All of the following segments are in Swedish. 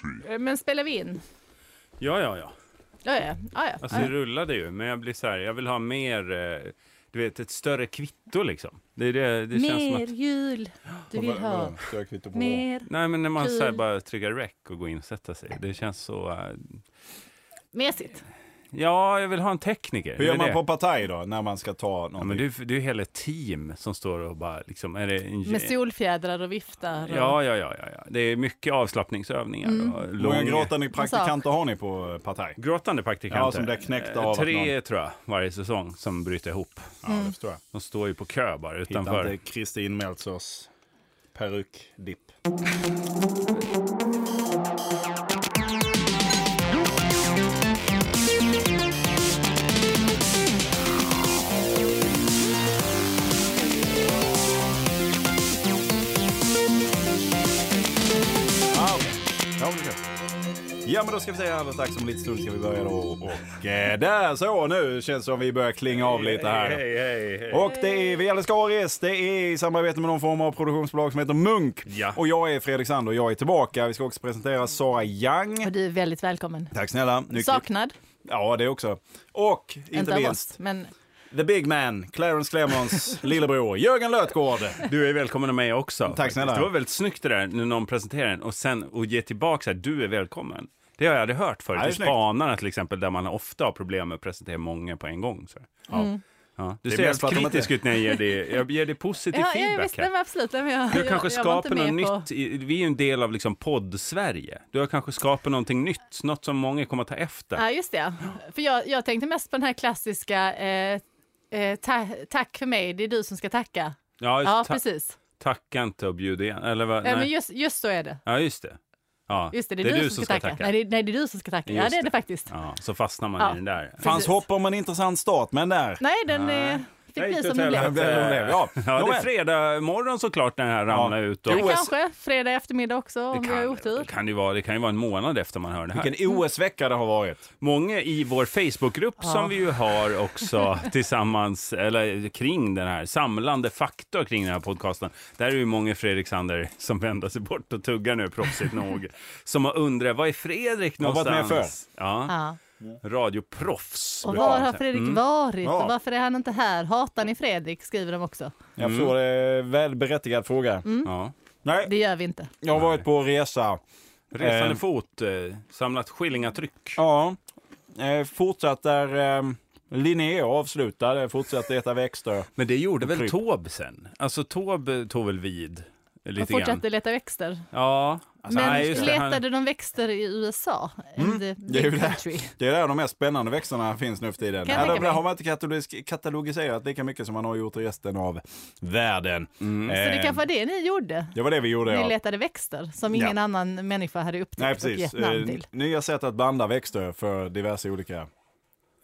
tree. Eh, Men spelar vi in? Ja, ja, ja. Ja, ja. ja, ja. Alltså det rullade ju, men jag blir så här, jag vill ha mer, eh, du vet ett större kvitto liksom. Det, är det, det känns som Mer att, jul du vill ha. Ska jag kvitto på vad? Mer. nej men när man så här, Kul. bara trycker rec och går in och sätter sig. Det känns så, eh, Mesigt. ja jag vill ha en tekniker. Hur Det gör är man det. på Partaj då, när man ska ta Ja, någonting? men det, är- det är ju hela team som står och bara liksom, är det en... Med solfjädrar och viftar. Och... Ja, ja, ja, ja, ja. Det är mycket avslappningsövningar. Mm. Och Hur många lång... gråtande praktikanter har ni på eh, Partaj? Gråtande praktikanter. Ja, som blir knäckta Eh, av att Tre tror jag varje säsong som bryter ihop. Ja, Mm. det förstår jag. De står ju på kö bara Hittar utanför. inte Kristin Meltzers perukdipp. Ja, okej. Ja, men det är kul. Ja men då ska vi säga alldeles strax om lite stund ska vi börja då och eh, där så nu känns det som vi börjar klinga av lite här. Hej, hej, hej. Och det är Via Lescaris, det är i samarbete med någon form av produktionsbolag som heter Munk. Ja. Och jag är Fredrik Sander och jag är tillbaka. Vi ska också presentera Sara Young. Och du är väldigt välkommen. Tack snälla. Nyckel- Saknad. Ja, det också. Och inte av minst, oss, men the big man, Clarence Clemons lillebror, Jörgen Lötgård. Du är välkommen av mig också. faktiskt. snälla. Det var väldigt snyggt det där när någon presenterar en och sen och ge tillbaka så här, du är välkommen. Det har jag aldrig hört förut. Ja, det är I snyggt. Spanarna till exempel, där man ofta har problem med att presentera många på en gång. Så. här. Mm. Ja. Du Det är ser mest för helt att de kritisk ut när jag ger dig, jag ger dig positiv ja, ja, feedback visst, här. nej, men absolut. Nej, men jag, Du har kanske jag, jag var inte skapat något med på- nytt. i- Vi är ju en del av liksom podd-Sverige. Du har kanske skapat någonting nytt, något som många kommer att ta efter. Ja, just det. För jag, jag tänkte mest på den här klassiska eh, eh, ta, tack för mig, det är du som ska tacka. Ja, just, Ja, ta- precis. Tacka inte och bjud igen. Eller vad? Nej. nej. Men just, just så är det. Ja, just det. Ja, Just det, det är, du, som ska, tacka. Nej, det, nej, det är du som ska tacka. ja, Just det är det det. faktiskt. Ja, så fastnar man Ja. i den där. Fanns Precis. hopp om en intressant start, men där. Nej, den Nej. eh, fick Jag bli gick åt som den helvete. blev. blev. Den blev, ja. ja, det Nåväl. är fredag morgon såklart när den här ramlar ut. Och Jo, Men OS. Kanske fredag eftermiddag också om vi har det, otur. kan ju vara, det kan ju vara en månad efter man hör det här. Vilken OS-vecka det har varit. Många i vår Facebookgrupp som vi ju har också tillsammans, eller kring den här, samlande faktor kring den här podcasten. Där är ju många Fredrik Sander som vänder sig bort och tuggar nu proffsigt nog. Som har undrat, vad är Fredrik Har varit någonstans? med Ja, Ja. radioproffs. Och brukar var man har säga. Fredrik varit Ja. och varför är han inte här? Hatar ni Fredrik? Skriver de också. Jag förstår, det är en väl berättigad fråga. Ja. Nej, Det gör vi inte. jag har varit på resa. Resande Eh. fot, eh, samlat skillingatryck. Ja, eh, fortsatt där eh, Linné avslutade, fortsatt äta växter. Men det gjorde väl kryp. Tob sen? Alltså Tob eh, tog väl vid eh, Man lite grann? fortsatte leta växter. Ja. Alltså, Men nej, just det, han- Mm, letade de växter i USA? In the det är ju big det. country. Det är där de mest spännande växterna finns nu för tiden. Kan jag Ja, tänka där mig. har man inte katalog- katalogiserat lika mycket som man har gjort i resten av världen. Mm. Så det Eh, kanske var det ni gjorde? det var det vi gjorde. Ni Ja. letade växter som ingen Ja. annan människa hade upptäckt Nej, och precis. gett Eh, namn till. nya sätt att blanda växter för diverse olika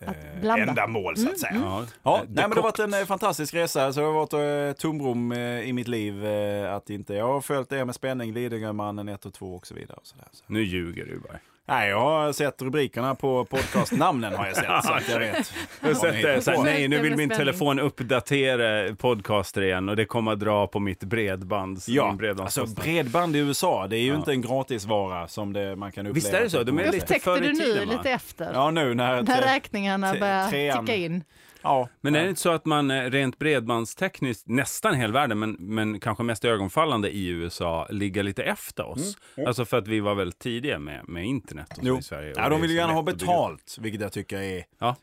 eh, blanda. Mm. ändamål så att säga. Ja, Ja, Eh, nej, men det har Decock- varit en eh, fantastisk resa. Så det har varit eh, tomrum eh, i mitt liv. Eh, att inte, jag har följt det med spänning, Lidingömannen 1 och 2 och så vidare. Och så där, så. Nu ljuger du bara. Nej, jag har sett rubrikerna på podcastnamnen har jag sett. så att jag vet. Jag har sett det, så här, på. nej, nu Det är vill med min spänning. telefon uppdatera podcaster igen och det kommer att dra på mitt bredband. Ja, min bredbandskostnad. alltså bredband i USA, det är ju inte en gratisvara som det, man kan uppleva. Visst är det så? De är lite Upptäckte förr i du nu tiden, va? lite efter? Ja, nu när... När räkningarna te- börjar trean. ticka in. ja, men är det ja. inte så att man eh, rent bredbandstekniskt, nästan hela världen, men, men kanske mest ögonfallande i USA, ligger lite efter oss? Alltså för att vi var väldigt tidiga med, med internet och så Mm, Jo. i Sverige. och Ja, det de är vill ju så gärna ha lätt att bygga upp. betalt, vilket jag tycker är... Ja.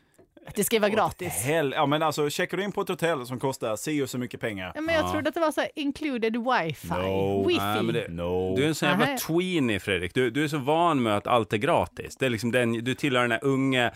Att det ska vara gratis. Hell... Ja, men alltså, checkar du in på ett hotell som kostar si och så mycket pengar. Ja, men jag trodde att det var så här included wifi. No. Wifi. Nej, men det, No. Du är en sån jävla Nej. tweenie Fredrik. Du, du är så van med att allt är gratis. Det är liksom den, du tillhör den här unga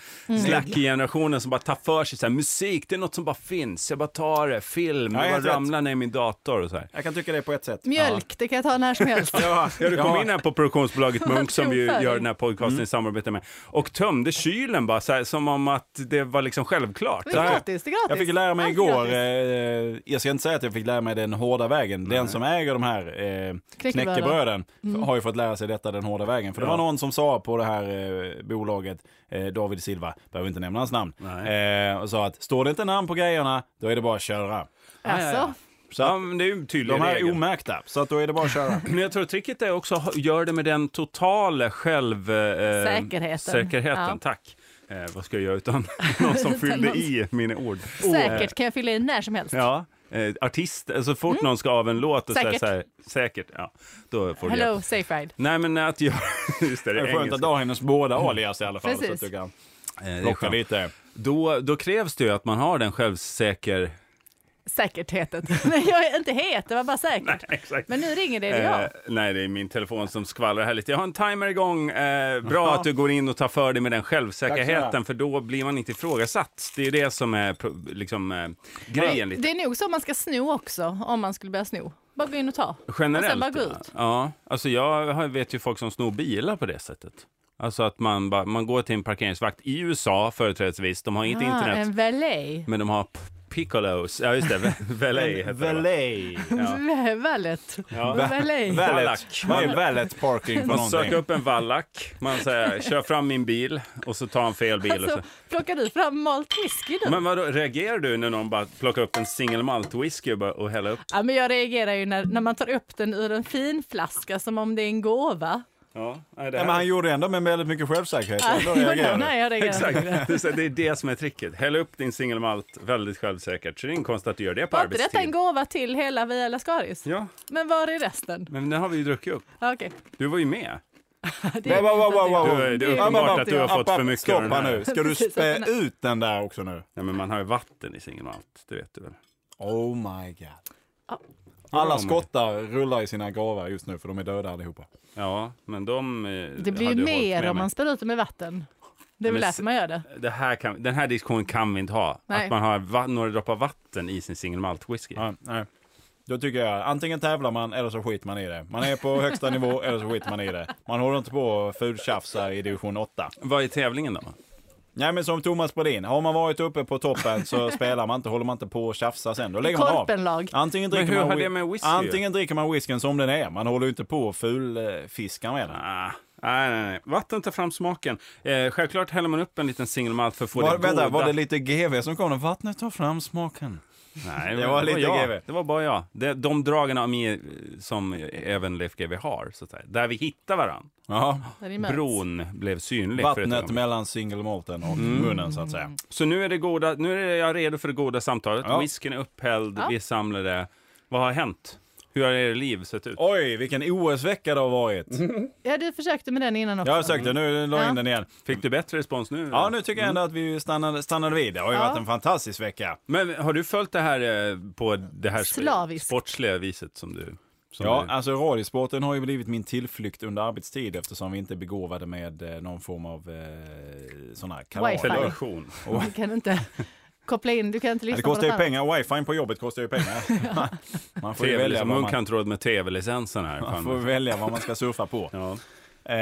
slack-generationen som bara tar för sig så här, musik, det är något som bara finns. Jag bara tar det, film, Ja, jag helt bara rätt. ramlar ner i min dator och så här. Jag kan tycka det på ett sätt. Mjölk, det kan jag ta när som helst. Ja, Ja, du kom ja. Mm. in här på produktionsbolaget Munk som vi ju Provföring. gör den här podcasten i samarbete med och tömde kylen bara så här, som om att det var liksom självklart. Det är gratis, det är gratis. Jag fick lära mig Allt är igår, gratis. eh, jag ska inte säga att jag fick lära mig den hårda vägen. Den som äger de här eh, Knäckebröden. Mm. knäckebröden har ju fått lära sig detta den hårda vägen. För det Ja. var någon som sa på det här eh, bolaget, eh, David Silva, behöver inte nämna hans namn, Nej. eh, och sa att står det inte namn på grejerna, då är det bara att köra. Alltså, Så Ja, att, men det är ju de tydligen här är regeln. omärkta, så att då är det bara att köra. Men jag tror tricket är också ha- gör det med den totala själv... Eh, Säkerheten. Säkerheten, Ja. tack. Eh, vad ska jag göra utan någon som Utan fyllde någon- i mina ord? Säkert kan jag fylla i när som helst. Ja, eh, artist, eh, så fort någon ska av en låt och säger Säkert. så här, säkert, ja, då får du hjälp. Hello, safe ride. Nej men att jag, just det, det Det är är skönt att engelska. du har hennes båda alias i alla fall, Precis. så att du kan Eh, det är plocka skönt. lite. Då, då krävs det ju att man har den självsäker... Säkertheten. Nej, jag är inte het, det var bara säkert. Exakt. Men nu ringer det, det är Eh, jag. nej, det är min telefon som skvallrar här lite. Jag har en timer igång. Eh, bra att du går in och tar för dig med den Tack så självsäkerheten, mycket. för då blir man inte ifrågasatt. Det är det som är pro- liksom, eh, grejen lite. Det är nog så man ska sno också, om man skulle börja sno. Bara gå in och ta. Och sen Generellt. bara gå ut. Ja, alltså jag har- vet ju folk som snor bilar på det sättet. Alltså att man, bara, man går till en parkeringsvakt i USA företrädesvis. De har inte internet, Ah, en valet. men de har p- piccolos. Ja, just det. Ve- Valet heter det. va? Valet. Valet. Ja. Valet. Valet. Vad är valet parking för Man söker någonting? upp en vallack, man säger kör fram min bil och så tar han fel bil. Och så. Alltså, plockar du fram malt whisky nu? Men vadå, reagerar du när någon bara plockar upp en single malt whisky och, bara, och häller upp? Ja, men jag reagerar ju när, när man tar upp den ur en fin flaska som om det är en gåva. Ja, nej, det Ja, här. men han gjorde ändå med väldigt mycket självsäkerhet. Ändå reagerar du. Nej, jag reagerar. Exakt, det är så- det är det som är tricket. Häll upp din single malt väldigt självsäkert. Så det är ingen konst att du gör det på Var inte detta en arbetstid. gåva till hela Via Lascaris? Ja, Men var är resten? men den har vi ju druckit upp. Ja, Okej. Du var ju med. Det är- Wow, wow, wow, wow. Du, det är Ja, uppenbart men- att du har fått för mycket av Stopp den här här. nu. Ska du Precis, spä att den ut den där också nu? Nej, men man har ju vatten i single malt, det vet du väl? Oh my god. Ja. Alla men- skottar rullar i sina gravar just nu för de är döda allihopa. Ja, men de eh, Det blir ju hade hållit mer med om mig. man spär ut det med vatten. Det är Men väl s- därför man gör det. det här kan, Den här diskussionen kan vi inte ha. Nej. Att man har va- några droppar vatten i sin single malt whisky. Ja, nej. Då tycker jag antingen tävlar man eller så skiter man i det. Man är på högsta nivå eller så skiter man i det. Man håller inte på och fultjafsar i division 8. Vad är tävlingen då? Nej men som Thomas Brolin, har man varit uppe på toppen så spelar man inte, håller man inte på och tjafsar sen. Då lägger man av. Korpenlag. Antingen Men dricker, hur man, har whi- det med whisky antingen dricker man whiskyn som den är. Man håller ju inte på och fulfiskar med den. Ah, nej, nej, nej. Vatten tar fram smaken. Eh, självklart häller man upp en liten single malt för att få Var, det vänta, goda. var det lite GV som kom? Vattnet tar fram smaken. nej, Det var lite jag. GV. Det var bara jag. Det, de dragen av mig eh, som även Leif GW har, så att säga. Där vi hittar varann. Ja, Där ni möts. Bron blev synlig. för ett vattnet ögonblick. mellan singelmalten och Mm. munnen så att säga. Så nu är, det goda, nu är jag redo för det goda samtalet. Ja. Whiskyn är upphälld, Ja. vi samlade. Vad har hänt? Hur har er liv sett ut? Oj, vilken OS-vecka det har varit. Mm. Ja, du försökte med den innan också. Jag har sökt den, nu la jag in Ja. den igen. Fick du bättre respons nu? Ja, nu tycker jag Mm. ändå att vi stannade, stannade vid. Det har ju Ja. varit en fantastisk vecka. Men har du följt det här eh, på det här sp- Slaviskt. sportsliga viset som du... Som Ja, du... alltså radiosporten har ju blivit min tillflykt under arbetstid eftersom vi inte är begåvade med eh, någon form av eh, sån här Wifi. kanaler. Federation. Du kan inte koppla in, du kan inte Ja, lyssna Det kostar på ju något annat. pengar. Wifi på jobbet kostar ju pengar. Man får ju välja TV-licens. vad Munk har man, inte råd med tv-licensen här. man, fan. får välja vad man ska surfa på. Ja. Eh,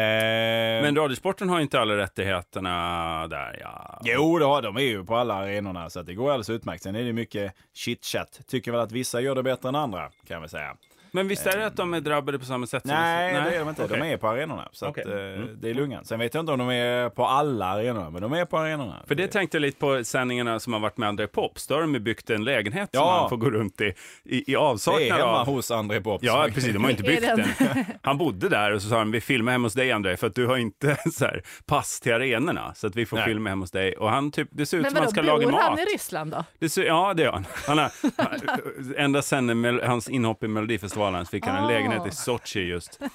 Men Radiosporten har inte alla rättigheterna där, ja. Jo, det har de är ju på alla arenorna så att det går alldeles utmärkt. Sen är det mycket chitchat. Tycker väl att vissa gör det bättre än andra kan vi säga. Men visst är det att de är drabbade på samma sätt? som- Nej, det är de inte. Okej. De är på arenorna. Så Okej. Mm. att, eh, det är lungan. Sen vet jag inte om de är på alla arenorna, men de är på arenorna. För det tänkte jag lite på sändningarna som har varit med André Pops. Då har de ju byggt en lägenhet som Ja. han får gå runt i, i, i det är avsaknad hemma av. hos André Pops. Ja, precis. De har inte Det är byggt den. Han bodde där och så sa han, vi filmar hemma hos dig André, för att du har inte så här, pass till arenorna. Så att vi får Nej. filma hemma hos dig. Och han typ, det ser ut Men som han vadå, ska bor laga mat. han i Ryssland då? Det ser, ja, det gör han. han har, ända sen Mel- hans inhopp i Melodifestivalen så fick han en Ah. lägenhet i Sochi just. Eh,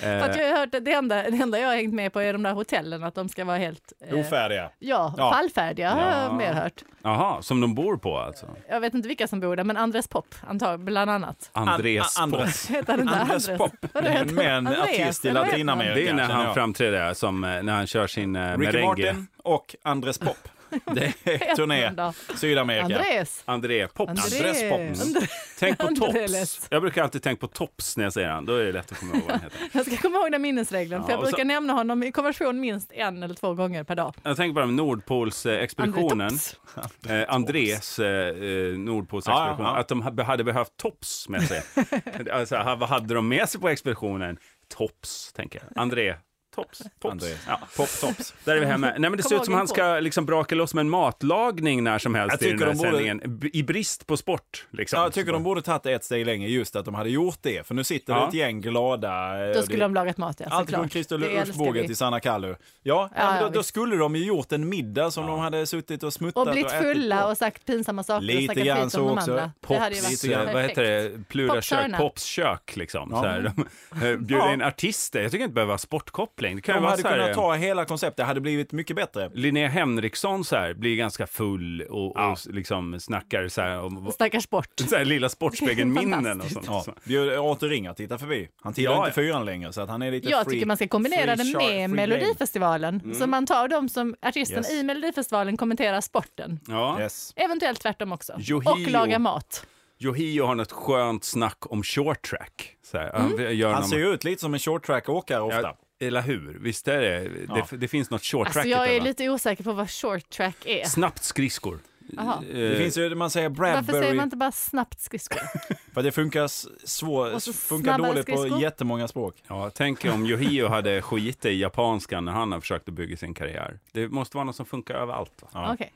För att jag har hört att det enda, det enda jag har hängt med på är de där hotellen, att de ska vara helt... eh, Ofärdiga. Ja, Ja. fallfärdiga har Ja. jag mer hört. Jaha, som de bor på alltså. Jag vet inte vilka som bor där, men Andres Pop antagligen, bland annat. Andres An- an- Pop. Andres. Heter den där Andres Andres? Pop. Vadå, heter han Med en Andreas? artist i Eller vad heter han? Latinamerika. Det är när känner han jag. framträder där, som eh, när han kör sin eh, Ricky merengue. Martin och Andres Pop. Det är Heter han turné då? Sydamerika. Andres? André Pops. André. Andres Pops. André- Tänk på André Tops. lätt. Jag brukar alltid tänka på Tops när jag säger han. Då är det lätt att komma ihåg vad han heter. Jag ska komma ihåg den minnesregeln, för Ja, jag och så- brukar nämna honom i konversation minst en eller två gånger per dag. Jag tänker bara eh, på Nordpolsexpeditionen. André Tops. Eh, Andres eh, eh, Nordpolsexpedition. Ja, ja, ja. Att de ha- hade behövt tops med sig. alltså, ha- vad hade de med sig på expeditionen? Tops, tänker jag. André Tops. Pops. Andreas. Ja. Poptops. Där är vi hemma. Nej, men det Kom ser ut som ihåg han den ska liksom braka loss med en matlagning när som helst Jag i den tycker här de borde- sändningen. B- I brist på sport. Liksom. Jag tycker de borde tagit ett steg längre just att de hade gjort det. För nu sitter Ja. det ett gäng glada. eh, Då och skulle det- de lagat mat, ja. Allt såklart. från Christer Det älskar Ulfbåge vi. till Sanna Kallu. Ja, Ja, ja, men ja, då, då visst. skulle de ju gjort en middag som de hade suttit och smuttat Och blivit ätit fulla på. och sagt pinsamma saker Lite och snackat grann skit om så de också. andra. det hade ju varit Pops, eh, vad heter det? Plura kök, Popstjärna. popskök liksom. Ja. Så här, de, eh, bjuder Ja. in artister. Jag tycker inte det behöver vara sportkoppling. Det kan ju De vara hade så här, kunnat eh, ta hela konceptet, det hade blivit mycket bättre. Linnea Henriksson så här, blir ganska full och, och Ja. s- liksom snackar så här, om Stackars sport. så här, lilla Sportspegeln-minnen och sånt. Ja, bjöd Arthur Ring att titta förbi. Han tillhör Ja, inte fyran längre så att han är lite Jag free, tycker man ska kombinera free det char- free Mm. med Melodifestivalen. Så man tar dem som artisten Yes. i Melodifestivalen kommenterar sporten. Ja. game. Yes. Eventuellt tvärtom också. Johio. Och laga mat. Johio har något skönt snack om short track. Så här, han, gör Mm. Han någon- ser ju ut lite som en short track-åkare ofta. Ja, eller hur? Visst är det? Det, det finns något short track Alltså i jag det, är va? lite osäker på vad short track är. Snabbt skridskor. Eh, Aha. Det finns ju, man säger Varför säger Bradbury, man inte bara snabbt skridskor? för det funkar, s- svår, Och så funkar snabbare dåligt på skridskor? jättemånga språk. Ja, tänk om Yohio hade skitit i japanskan när han har försökt att bygga sin karriär. Det måste vara något som funkar överallt. Va? Ja. Mm. Okej.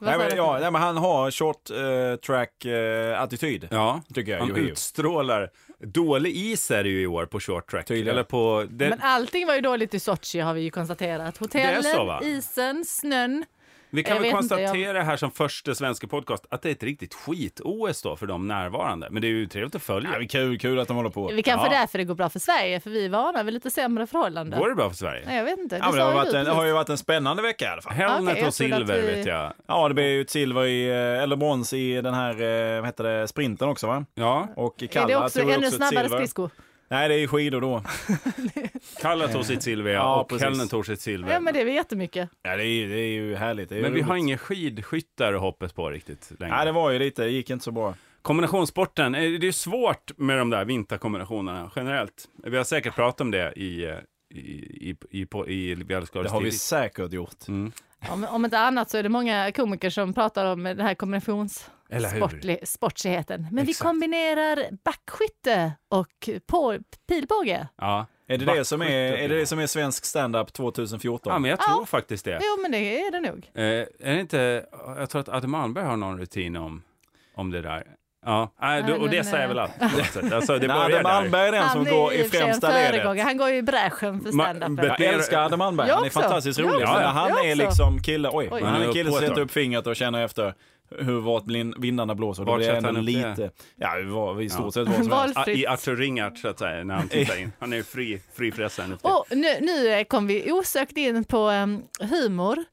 Vad Nej, sa men, du? ja, nej, men han har short eh, track-attityd, Ja, tycker jag. han Yohio. utstrålar. Dålig is är det ju i år på short track. Tydligen. Eller på... Det, Men allting var ju dåligt i Sochi har vi ju konstaterat. Hotellen, Det är så, va? isen, snön. vi kan jag väl vet inte, jag- konstatera här som första svenska podcast att det är ett riktigt skit-OS då för de närvarande. Men det är ju trevligt att följa. Ja, det är kul, kul att de håller på. Det är kanske Ja. därför det går bra för Sverige, för vi är vana vid lite sämre förhållanden. Går det bra för Sverige? Nej, jag vet inte. Det Ja, men det, sa har ju varit du en, det har precis. ju varit en spännande vecka i alla fall. Hellnet Okej, jag och trodde att silver vi- vet jag. Ja, det blev ju ett silver i, eh, eller brons i den här eh, vad heter det, sprinten också va? Ja, Och i Är det Kalla också tog ännu också ett snabbare silver. skridskor? Nej, det är ju skidor då. Kalla tog sitt silver Ja, ja, och precis. Hellner tog sitt silver. Ja, men det är väl jättemycket. Ja, det är, ju- det är ju härligt. Det är Men vi har inget... ingen skidskyttar att hoppas på riktigt längre. Nej, det var ju lite, det gick inte så bra. Kombinationssporten, eh, det är svårt med de där vinterkombinationerna generellt. Vi har säkert pratat om det i, eh, i, i, i, på- i, i Det har vi säkert gjort. Mm. Om, om inte annat så är det många komiker som pratar om den här Eller hur? kombinationssportsligheten. Men vi Exakt. kombinerar backskytte och på, pilbåge. Ja. Är det det, som är, är det det som är svensk standup 2014? Ja, men jag Ja. tror faktiskt det. Jo, men det är det nog. Eh, är det inte, jag tror att Adam Alberg har någon rutin om, om det där. Ja, Nej, då, och det men, eh, säger väl allt. på något sätt. Alltså, det Nej, börjar Adam där. Alberg är den som Han går är i och för sig en främsta ledet. föregångare. Han går ju i bräschen för Ma- standupen. bet- Jag älskar Adam Alberg, Jag han är också. fantastiskt rolig. Jag Men också. han Jag är också. liksom kille, oj, Oj. han Han är är kille som uppåt, sätter va? upp fingret och känner efter hur vart blin- vindarna blåser. Då Vart blir det sätter ändå han upp det? lite, ja, vi var- i Ja. stort sett vad som helst. Val- I Arthur Ringart, så att säga, när han tittar in. Han är fri, fri press här nu. Och nu, nu eh, kom vi osökt in på em, humor.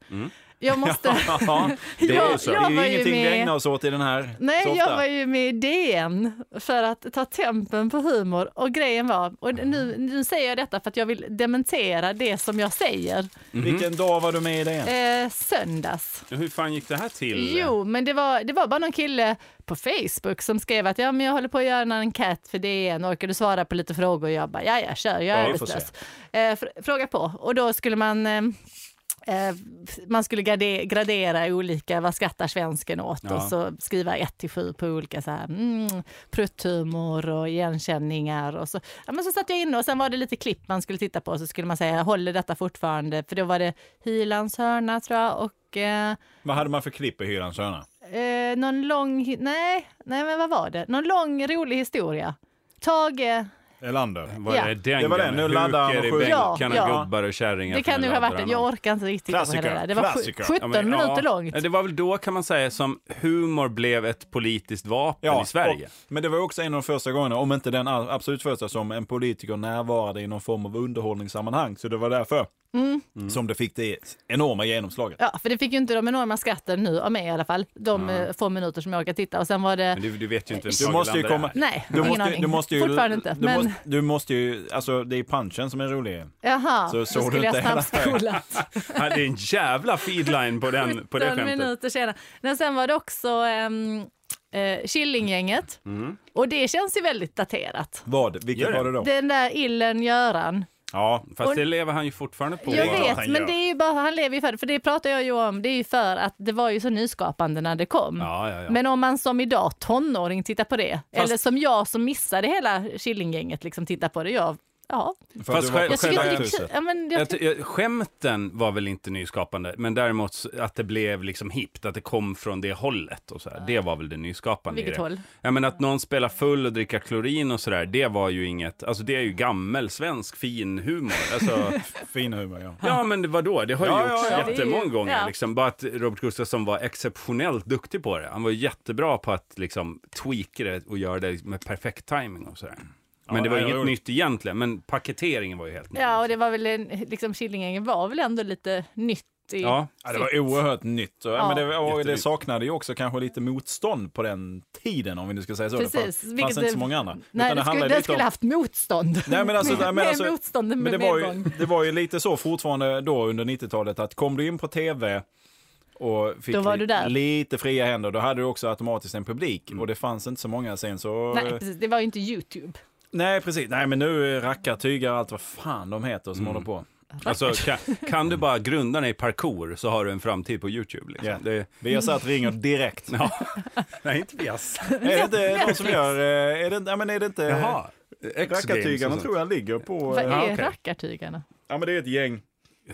Jag måste... Mm. Ja, det är ju så. Jag- Det jag är var ju ju ingenting vi med- ägnar oss åt i den här så Nej, ofta. jag var ju med i DN för att ta tempen på humor och grejen var, och nu, Mm. nu säger jag detta för att jag vill dementera det som jag säger, Mm. Vilken dag var du med i den? eh, söndags. Hur fan gick det här till? Jo, men det var, det var bara någon kille på Facebook som skrev att ja, men jag håller på att göra en enkät för DN, orkar du svara på lite frågor? Jag bara, ja, ja, kör, jag är Ja, vi får arbetslös. Eh, fr- fråga på. Och då skulle man, eh, eh, man skulle grade, gradera olika, vad skrattar svensken åt? Ja. Och så skriva 1 till 7 på olika så här, mm, prutthumor och igenkänningar. Och så. Ja, men så satt jag inne och sen var det lite klipp man skulle titta på och så skulle man säga, håller detta fortfarande? För då var det Hylands hörna tror jag och eh, Vad hade man för klipp i Hyrans hörna? Eh, någon lång, hi- nej, nej men vad var det? Någon lång rolig historia. Tage, Elander. Var Ja. det den Det var den. Nu laddar han och Huker i skjuter. Ja, bänkarna, ja. gubbar och kärringar. det kan ju ha varit det. Jag orkar inte riktigt titta på Klassiker, hela det där. Det var sju- klassiker. 17 minuter långt. Det var väl då kan man säga som humor blev ett politiskt vapen i Sverige. och, men det var också en av de första gångerna, om inte den all- absolut första, som en politiker närvarade i någon form av underhållningssammanhang. Så det var därför Mm. som det fick det enorma genomslaget. Mm. Ja, för det fick ju inte de enorma skatten nu av mig i alla fall. De eh, få minuter som jag orkar titta och sen var det, Men du, du vet ju inte vem Du Tage måste ju Erlander komma- är. nej, Du ingen måste, aning. du måste ju, Fortfarande inte. Du, men måste, du måste ju, alltså det är punchen som är rolig. jaha, Så då såg du skulle jag inte hela- snabbspolat. Ja, det är en jävla feedline på, den, på det 17 skämtet. minuter senare. Men sen var det också ehm, eh, Killinggänget Mm. och det känns ju väldigt daterat. Vad? Vilket Gör det? var det då? Den där illen Göran. Ja, Fast Och- det lever han ju fortfarande på. Jag vad vet, han men gör. det är ju bara, han lever ju för det. För det pratar jag ju om, det är ju för att det var ju så nyskapande när det kom. Ja, ja, ja. Men om man som idag tonåring tittar på det, eller som jag som missade hela Killinggänget liksom tittar på det, jag ja. För att Fast du var själv- på Jag tycker att det, självhuset. ja, men jag, Jag, ty- jag, skämten var väl inte nyskapande, men däremot så- att det blev liksom hippt, att det kom från det hållet och så här, det var väl det nyskapande. i Vilket det. håll? Ja, men att någon spelar full och dricker klorin och sådär, det var ju inget, alltså det är ju gammel svensk fin humor. Alltså, Fin humor, ja. ja men det- vadå, det har ju Ja, ja, gjorts ja. Det är jättemånga ju- gånger. ja. Liksom. Bara att Robert Gustafsson var exceptionellt duktig på det. Han var ju jättebra på att liksom tweaka det och göra det med perfekt timing och sådär. Men Ja, det var nej, inget roligt. nytt egentligen, men paketeringen var ju helt ny. ja, och det var väl, en, liksom Killinggängen var väl ändå lite nytt i... Ja. Ja, det var oerhört nytt. Och, Ja. men det, och det Jättenytt. saknade ju också kanske lite motstånd på den tiden, om vi nu ska säga så. Precis, det fanns, vilket fanns inte det- så många andra. Nej, Utan det skulle, handlade den lite skulle om- haft motstånd. Nej, men alltså, mer, nej, men alltså- mer motstånd än Men det, var ju, medgång. det var ju lite så fortfarande då under 90-talet att kom du in på tv och fick Då var li- du där. lite fria händer, då hade du också automatiskt en publik Mm. och det fanns inte så många sen så... Nej, precis, det var ju inte Youtube. Nej, precis. Nej, men nu är rackartygar allt vad fan de heter Mm. som håller på. Alltså, kan, kan du bara grunda dig i parkour så har du en framtid på Youtube. Liksom. Ja. Det, Vi har satt ringer direkt. ja. Nej, inte Vias. Är det inte någon som gör... eh, Är det, ja, men är det inte... Jaha. Rackartygarna tror jag ligger på... Vad eh, är okej. rackartygarna? Ja, men det är ett gäng.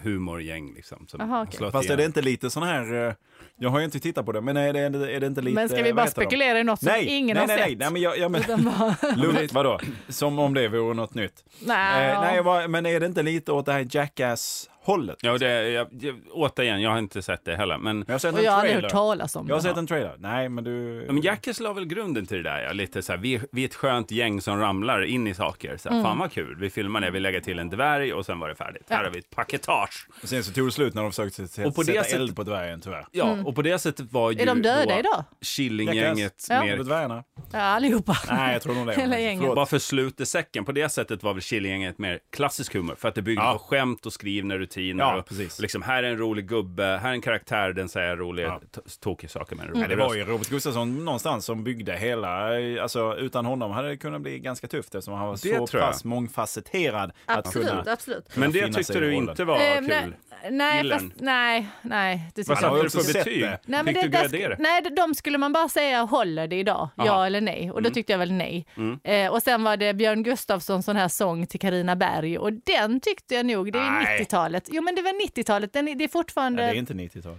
Humorgäng liksom. Som Aha, okej. slått Fast är det igenom. inte lite sån här... eh, Jag har ju inte tittat på det, men är det, är det inte lite... Men ska vi vad bara heter de? spekulera i något som Nej, ingen nej, har nej, nej, sett? nej, men jag, jag men, Utan bara, lugnt, vadå? Som om det vore något nytt. nej, Eh, nej, jag bara- men är det inte lite åt det här Jackass-hållet? Ja, det, jag, jag, återigen, jag har inte sett det heller. Men, Jag har sett och en jag har aldrig trailer. hört talas om jag har det. sett en trailer. Nej, men du... men Jackes la väl grunden till det där. Ja, lite så här, vi, vi är ett skönt gäng som ramlar in i saker. Så här, Mm. Fan vad kul, vi filmar det, vi lägger till en dvärg och sen var det färdigt. Här har vi ett paketage. Sen så tog det slut när de försökte sätta, Och på det sätta sättet- eld på dvärgen, tyvärr. Ja, och på det sättet var ju Mm. Är de döda då idag? Killinggänget Ja. mer På dvärgarna? Ja, allihopa. Nej, jag tror nog det. Hela gänget. Förlåt. Bara för slut i säcken. På det sättet var väl Killinggänget mer klassisk humor. För att det byggde Ja. på skämt och skrivna rutiner. Ja, och, precis. Liksom, här är en rolig gubbe, här är en karaktär, den säger roliga, Ja. ja. Mm. tokiga saker med en Men rolig det var röst. ju Robert Gustafsson någonstans som byggde hela, eh, alltså utan honom hade det kunnat bli ganska tufft eftersom han var så tror jag. pass mångfacetterad. absolut, att kunna, absolut. Men det finna sig tyckte i du rollen. inte var Eh, kul. Nej, nej, Gillar fast, den? nej, nej. Det Vad Man har satte ju du också för sett betyg? det. Nej, men Fick du det, där- gradera? nej, de skulle man bara säga håller det idag, ja eller nej. Och då Mm. tyckte jag väl nej. Eh, och sen var det Björn Gustafsson sån här sång till Karina Berg och den tyckte jag nog, det är Nej. 90-talet. Jo men det var 90-talet, den, är- det är fortfarande Nej, det är inte 90-tal.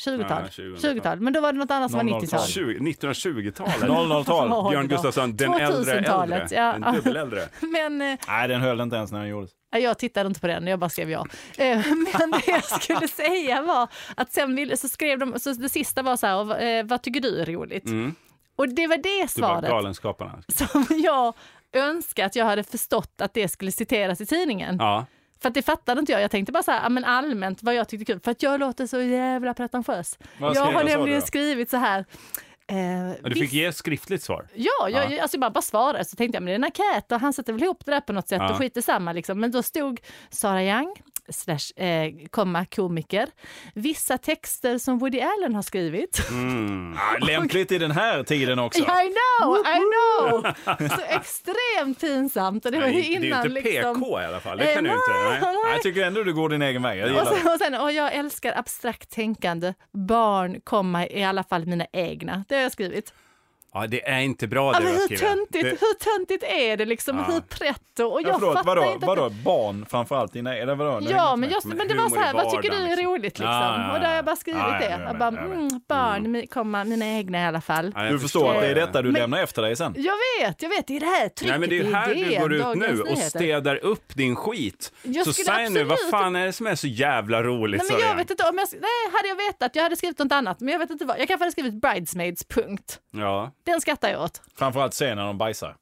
20-tal. Nej, 20-tal. 20-tal, men då var det något annat som var 00-tal. 90-tal. 20 1920-talet. 00-tal. Ja. Björn Gustafsson, den äldre 2000-talet, äldre. ja. Den dubbeläldre. Typ Men eh, Nej, den höll inte ens när den gjordes. Ja, Jag tittade inte på den, jag bara skrev ja. Eh, Men det jag skulle säga var att sen ville, så skrev de, så det sista var så här, "Och vad- eh, vad tycker du är roligt? Och det var det Mm. Du var svaret Galenskaparna. som jag önskar att jag hade förstått att det skulle citeras i tidningen. Ja. För att det fattade inte jag. Jag tänkte bara så här, ja, men allmänt vad jag tyckte kul. För att jag låter så jävla pretentiös. Vad Jag skrev- har vad sa du nämligen då? skrivit så här. Eh, Och Du visst- fick ge ett skriftligt svar. Ja, jag, jag- Alltså jag bara, bara svarade. Så tänkte jag, men det är en enkät och han sätter väl ihop det där på något sätt Ja. och skiter samma. Liksom. Men då stod Sara Young, slash, eh, komma komiker, vissa texter som Woody Allen har skrivit. Ah, lämpligt i den här tiden också. I know, I know! Så extremt pinsamt. Och det var ju Nej, det är innan ju inte liksom... PK i alla fall. Det Eh, kan du inte. nej, Nej. Nej, jag tycker ändå du går din egen väg. Jag gillar Och det. sen, och sen, och jag älskar abstrakt tänkande. Barn, komma i alla fall mina egna. Det har jag skrivit. Ja, det är inte bra Ja, det men du har hur, skrivit. töntigt, Det- hur töntigt är det liksom? Hur pretto? Och jag Ja, förlåt, fattar vadå, inte att vadå, barn framförallt? Dina, eller vadå? Det hänger Ja, inte men, med. just, Men men det var humor så i här, vad tycker du vardagen, är liksom. roligt liksom? Ja, ja, ja. Och där har jag bara skrivit Ja, ja, det. jag vet, Jag bara, jag vet. mm, barn, mi- komma, mina egna i alla fall. Ja, jag Du förstår att det är detta du Men- lämnar efter dig sen? Jag vet, jag vet, det är det här trycket Nej, men det är ju i här du DN, går ut Dagens nu och Nyheter. städar upp din skit. Jag så skulle säg nu, vad absolut- fan är det som är så jävla roligt? Nej, men jag Sarian? vet inte om jag, nej, hade jag vetat, jag hade skrivit något annat, men jag vet inte vad. Jag kanske hade skrivit bridesmaids, punkt. Ja. Den skrattar jag åt. Framförallt sen när de bajsar.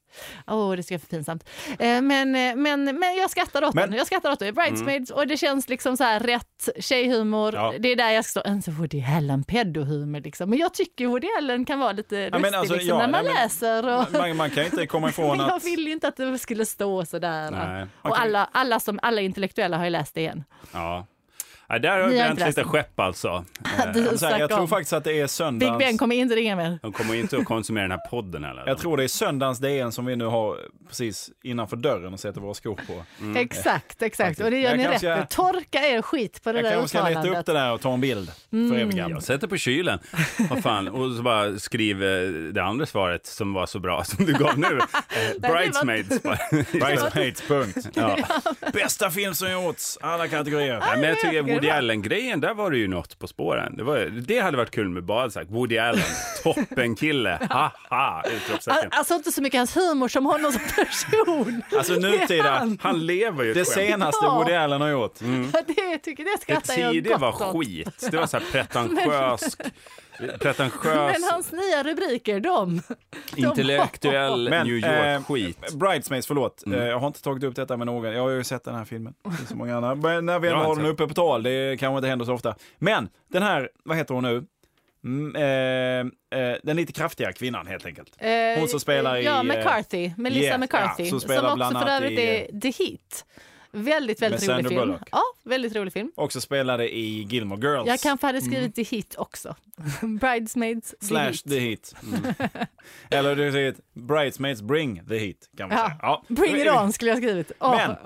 Åh, det ska vara för pinsamt. Eh, Men, eh, men, men jag skrattar åt Men- Mm. den. Jag skrattar åt den. Bridesmaids och det känns liksom så här rätt tjejhumor. Ja. Det är där jag står. Inte Woody Allen pedohumor liksom. Men jag tycker Woody Allen kan vara lite men lustig alltså, liksom, ja, när man nej, men- läser. Och... Man, man kan inte komma ifrån Men jag att... vill ju inte att det skulle stå så där. Nej. Och alla, alla, som, alla intellektuella har ju läst det igen. Ja. Ja, där har Ni har Grant inte läst lite skepp alltså. Eh, Du, Så här, jag snacka tror om. faktiskt att det är söndagens... Big Ben kommer inte ringa mer. De kommer ju inte att konsumera den här podden heller. Jag tror det är söndagens DN som vi nu har precis innanför dörren och sätter våra skor Mm. på. Exakt, exakt. Och det gör Mm. Jag ni rätt kanske- nu. Torka er skit på det Jag där kanske ska leta upp uttalandet. Mm. det där och ta en bild för eviga. Jag sätter på kylen. Vad fan. Och så bara skriv eh, det andra svaret som var så bra som du gav nu. Eh, Bridesmaids. bara. Bridesmaids, punkt. Bästa film som gjorts, alla kategorier. Nej, men jag tycker tycker Woody det var- Allen-grejen, där var det ju något på spåren. Det, var, det hade varit kul med bara sagt Woody Allen, toppenkille, haha! Al- Utropstecken. Alltså inte så mycket hans humor som honom som person. Alltså Det är nutida, han. Han lever ju ett det skämt. senaste Ja. Woody Allen har gjort. Mm. Det tycker det Det skrattar jag tidiga gott var åt. skit. Det var så här pretentiös, pretentiös Men hans nya rubriker, de. de intellektuell Men, New Mm. York-skit. Eh, Bridesmaids, förlåt. Eh, jag har inte tagit upp detta med någon. Jag har ju sett den här filmen. Det finns så många andra. Men när vi Jag har ändå har inte den uppe på tal, det kanske inte händer så ofta. Men den här, vad heter hon nu? Mm, eh, eh, den lite kraftiga kvinnan helt enkelt. Eh, Hon som spelar i, Ja, eh, McCarthy. Melissa yeah, McCarthy. ja, som, som spelar bland också för annat övrigt i, eh, är The Hit. Väldigt, väldigt rolig med Sandra film. Bullock. Ja, väldigt rolig film. Också spelade i Gilmore Girls. Jag kanske hade skrivit The Hit också. Bridesmaids, The Mm. Hit. Slash the heat. Mm. Eller du säger Bridesmaids bring the heat. Kan man Ja. säga. Ja. Bring it on skulle jag skrivit. Åh, Men- om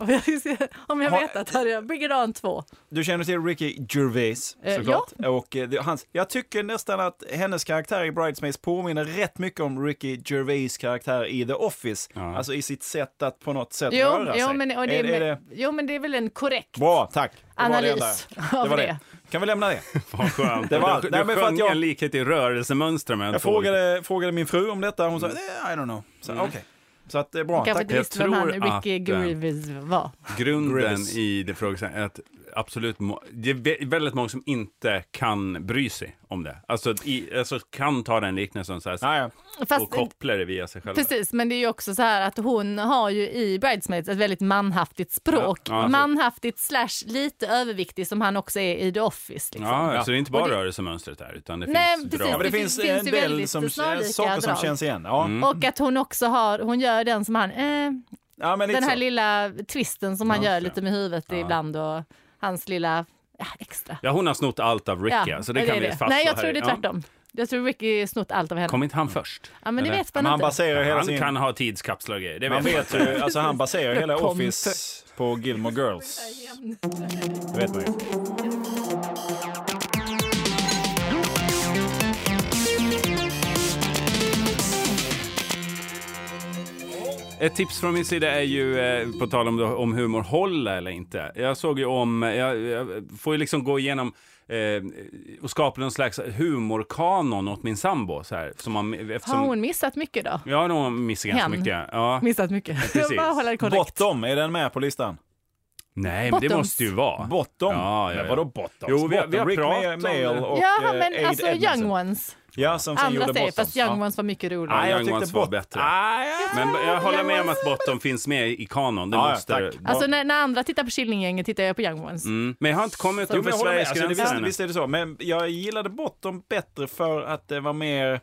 jag- om jag Har- vetat hade jag Bring it on 2. Du känner till Ricky Gervais Eh, såklart. Och eh, det- hans, jag tycker nästan att hennes karaktär i Bridesmaids påminner rätt mycket om Ricky Gervais karaktär i The Office. Ja. Alltså i sitt sätt att på något sätt Jo, röra jo, sig. men, och det, är, är, är det... jo, men det är väl en korrekt Bra, tack. Det var det enda. analys Det av var det. det. Kan vi lämna det? Vad skönt. Det var allt. du Nej, du men för att sjöng jag- en likhet i rörelsemönstren med en Jag tåg. frågade, frågade min fru om detta. Hon sa, Mm. "Eh, I don't know. Så, Okej. Så att det är bra. Kanske Tack. inte visste vem Jag han tror Ricky att, eh, Gervais var. Grunden Grievous. i det frågan är att absolut, må- det är vä- väldigt många som inte kan bry sig om det. Alltså, i, alltså kan ta den liknelsen så här, Ja, ja. Fast, och koppla det via sig själva. precis, men det är ju också så här att hon har ju i Bridesmaids ett väldigt manhaftigt språk. Ja, ja, så- manhaftigt slash lite överviktig som han också är i The Office. Liksom. Ja, så det är inte bara Och det- rörelsemönstret där, utan det Nej, finns precis. Ja, drag. men det, Det finns, finns en ju del väldigt som, saker snarlika som drag. känns igen. Ja. Mm. Och att hon också har, hon gör den som han, eh, Ja, men liksom- lite den här så. lilla twisten som han Ja, gör så. lite med huvudet ibland och hans lilla ja, extra. Ja, hon har snott allt av Ricky, så det och kan är vi det. fastslå Nej, jag här. tror det är Ja. tvärtom. Jag tror Ricky snott allt av henne. Kom inte han först? ja, men det Eller? vet Men man han inte. baserar hela Han sin... kan ha tidskapslar och grejer, det Man vet vet ju, alltså han baserar ju hela Kom Office på Gilmore Girls. Det vet man ju. Ett tips från min sida är ju, eh, på tal om, om humor håller eller inte. Jag såg ju om, eh, jag, jag får ju liksom gå igenom eh, och skapa någon slags humorkanon åt min sambo. Så här, som man, eftersom, Har hon missat mycket då? Jag har nog missat ganska Hen? mycket. Ja. Missat mycket. precis. Jag bara håller det korrekt. Bottom, är den med på listan? Nej, men det Bottoms. måste ju vara. Bottom? Ja, ja, ja. Men vadå bottom? Jo, vi har- vi har Rick pratat om Mail det. och Jaha, eh, men Aid alltså Edmondson. Young Ones. Ja, som sen Andra gjorde säger, Bottom. fast Young Ja. Ones var mycket roligare. Nej, Ja, jag Young tyckte Ones var bot- bättre. Ah, ja. Men jag håller med om att Bottom finns med i kanon. Det Ja, ja, måste... tack. Alltså när, när andra tittar på Killinggänget tittar jag på Young Ones. Mm. Men jag har inte kommit Jo, men över jag håller med. Sveriges Alltså, det, gränser visst, ännu. visst är det så. Men jag gillade Bottom bättre för att det var mer...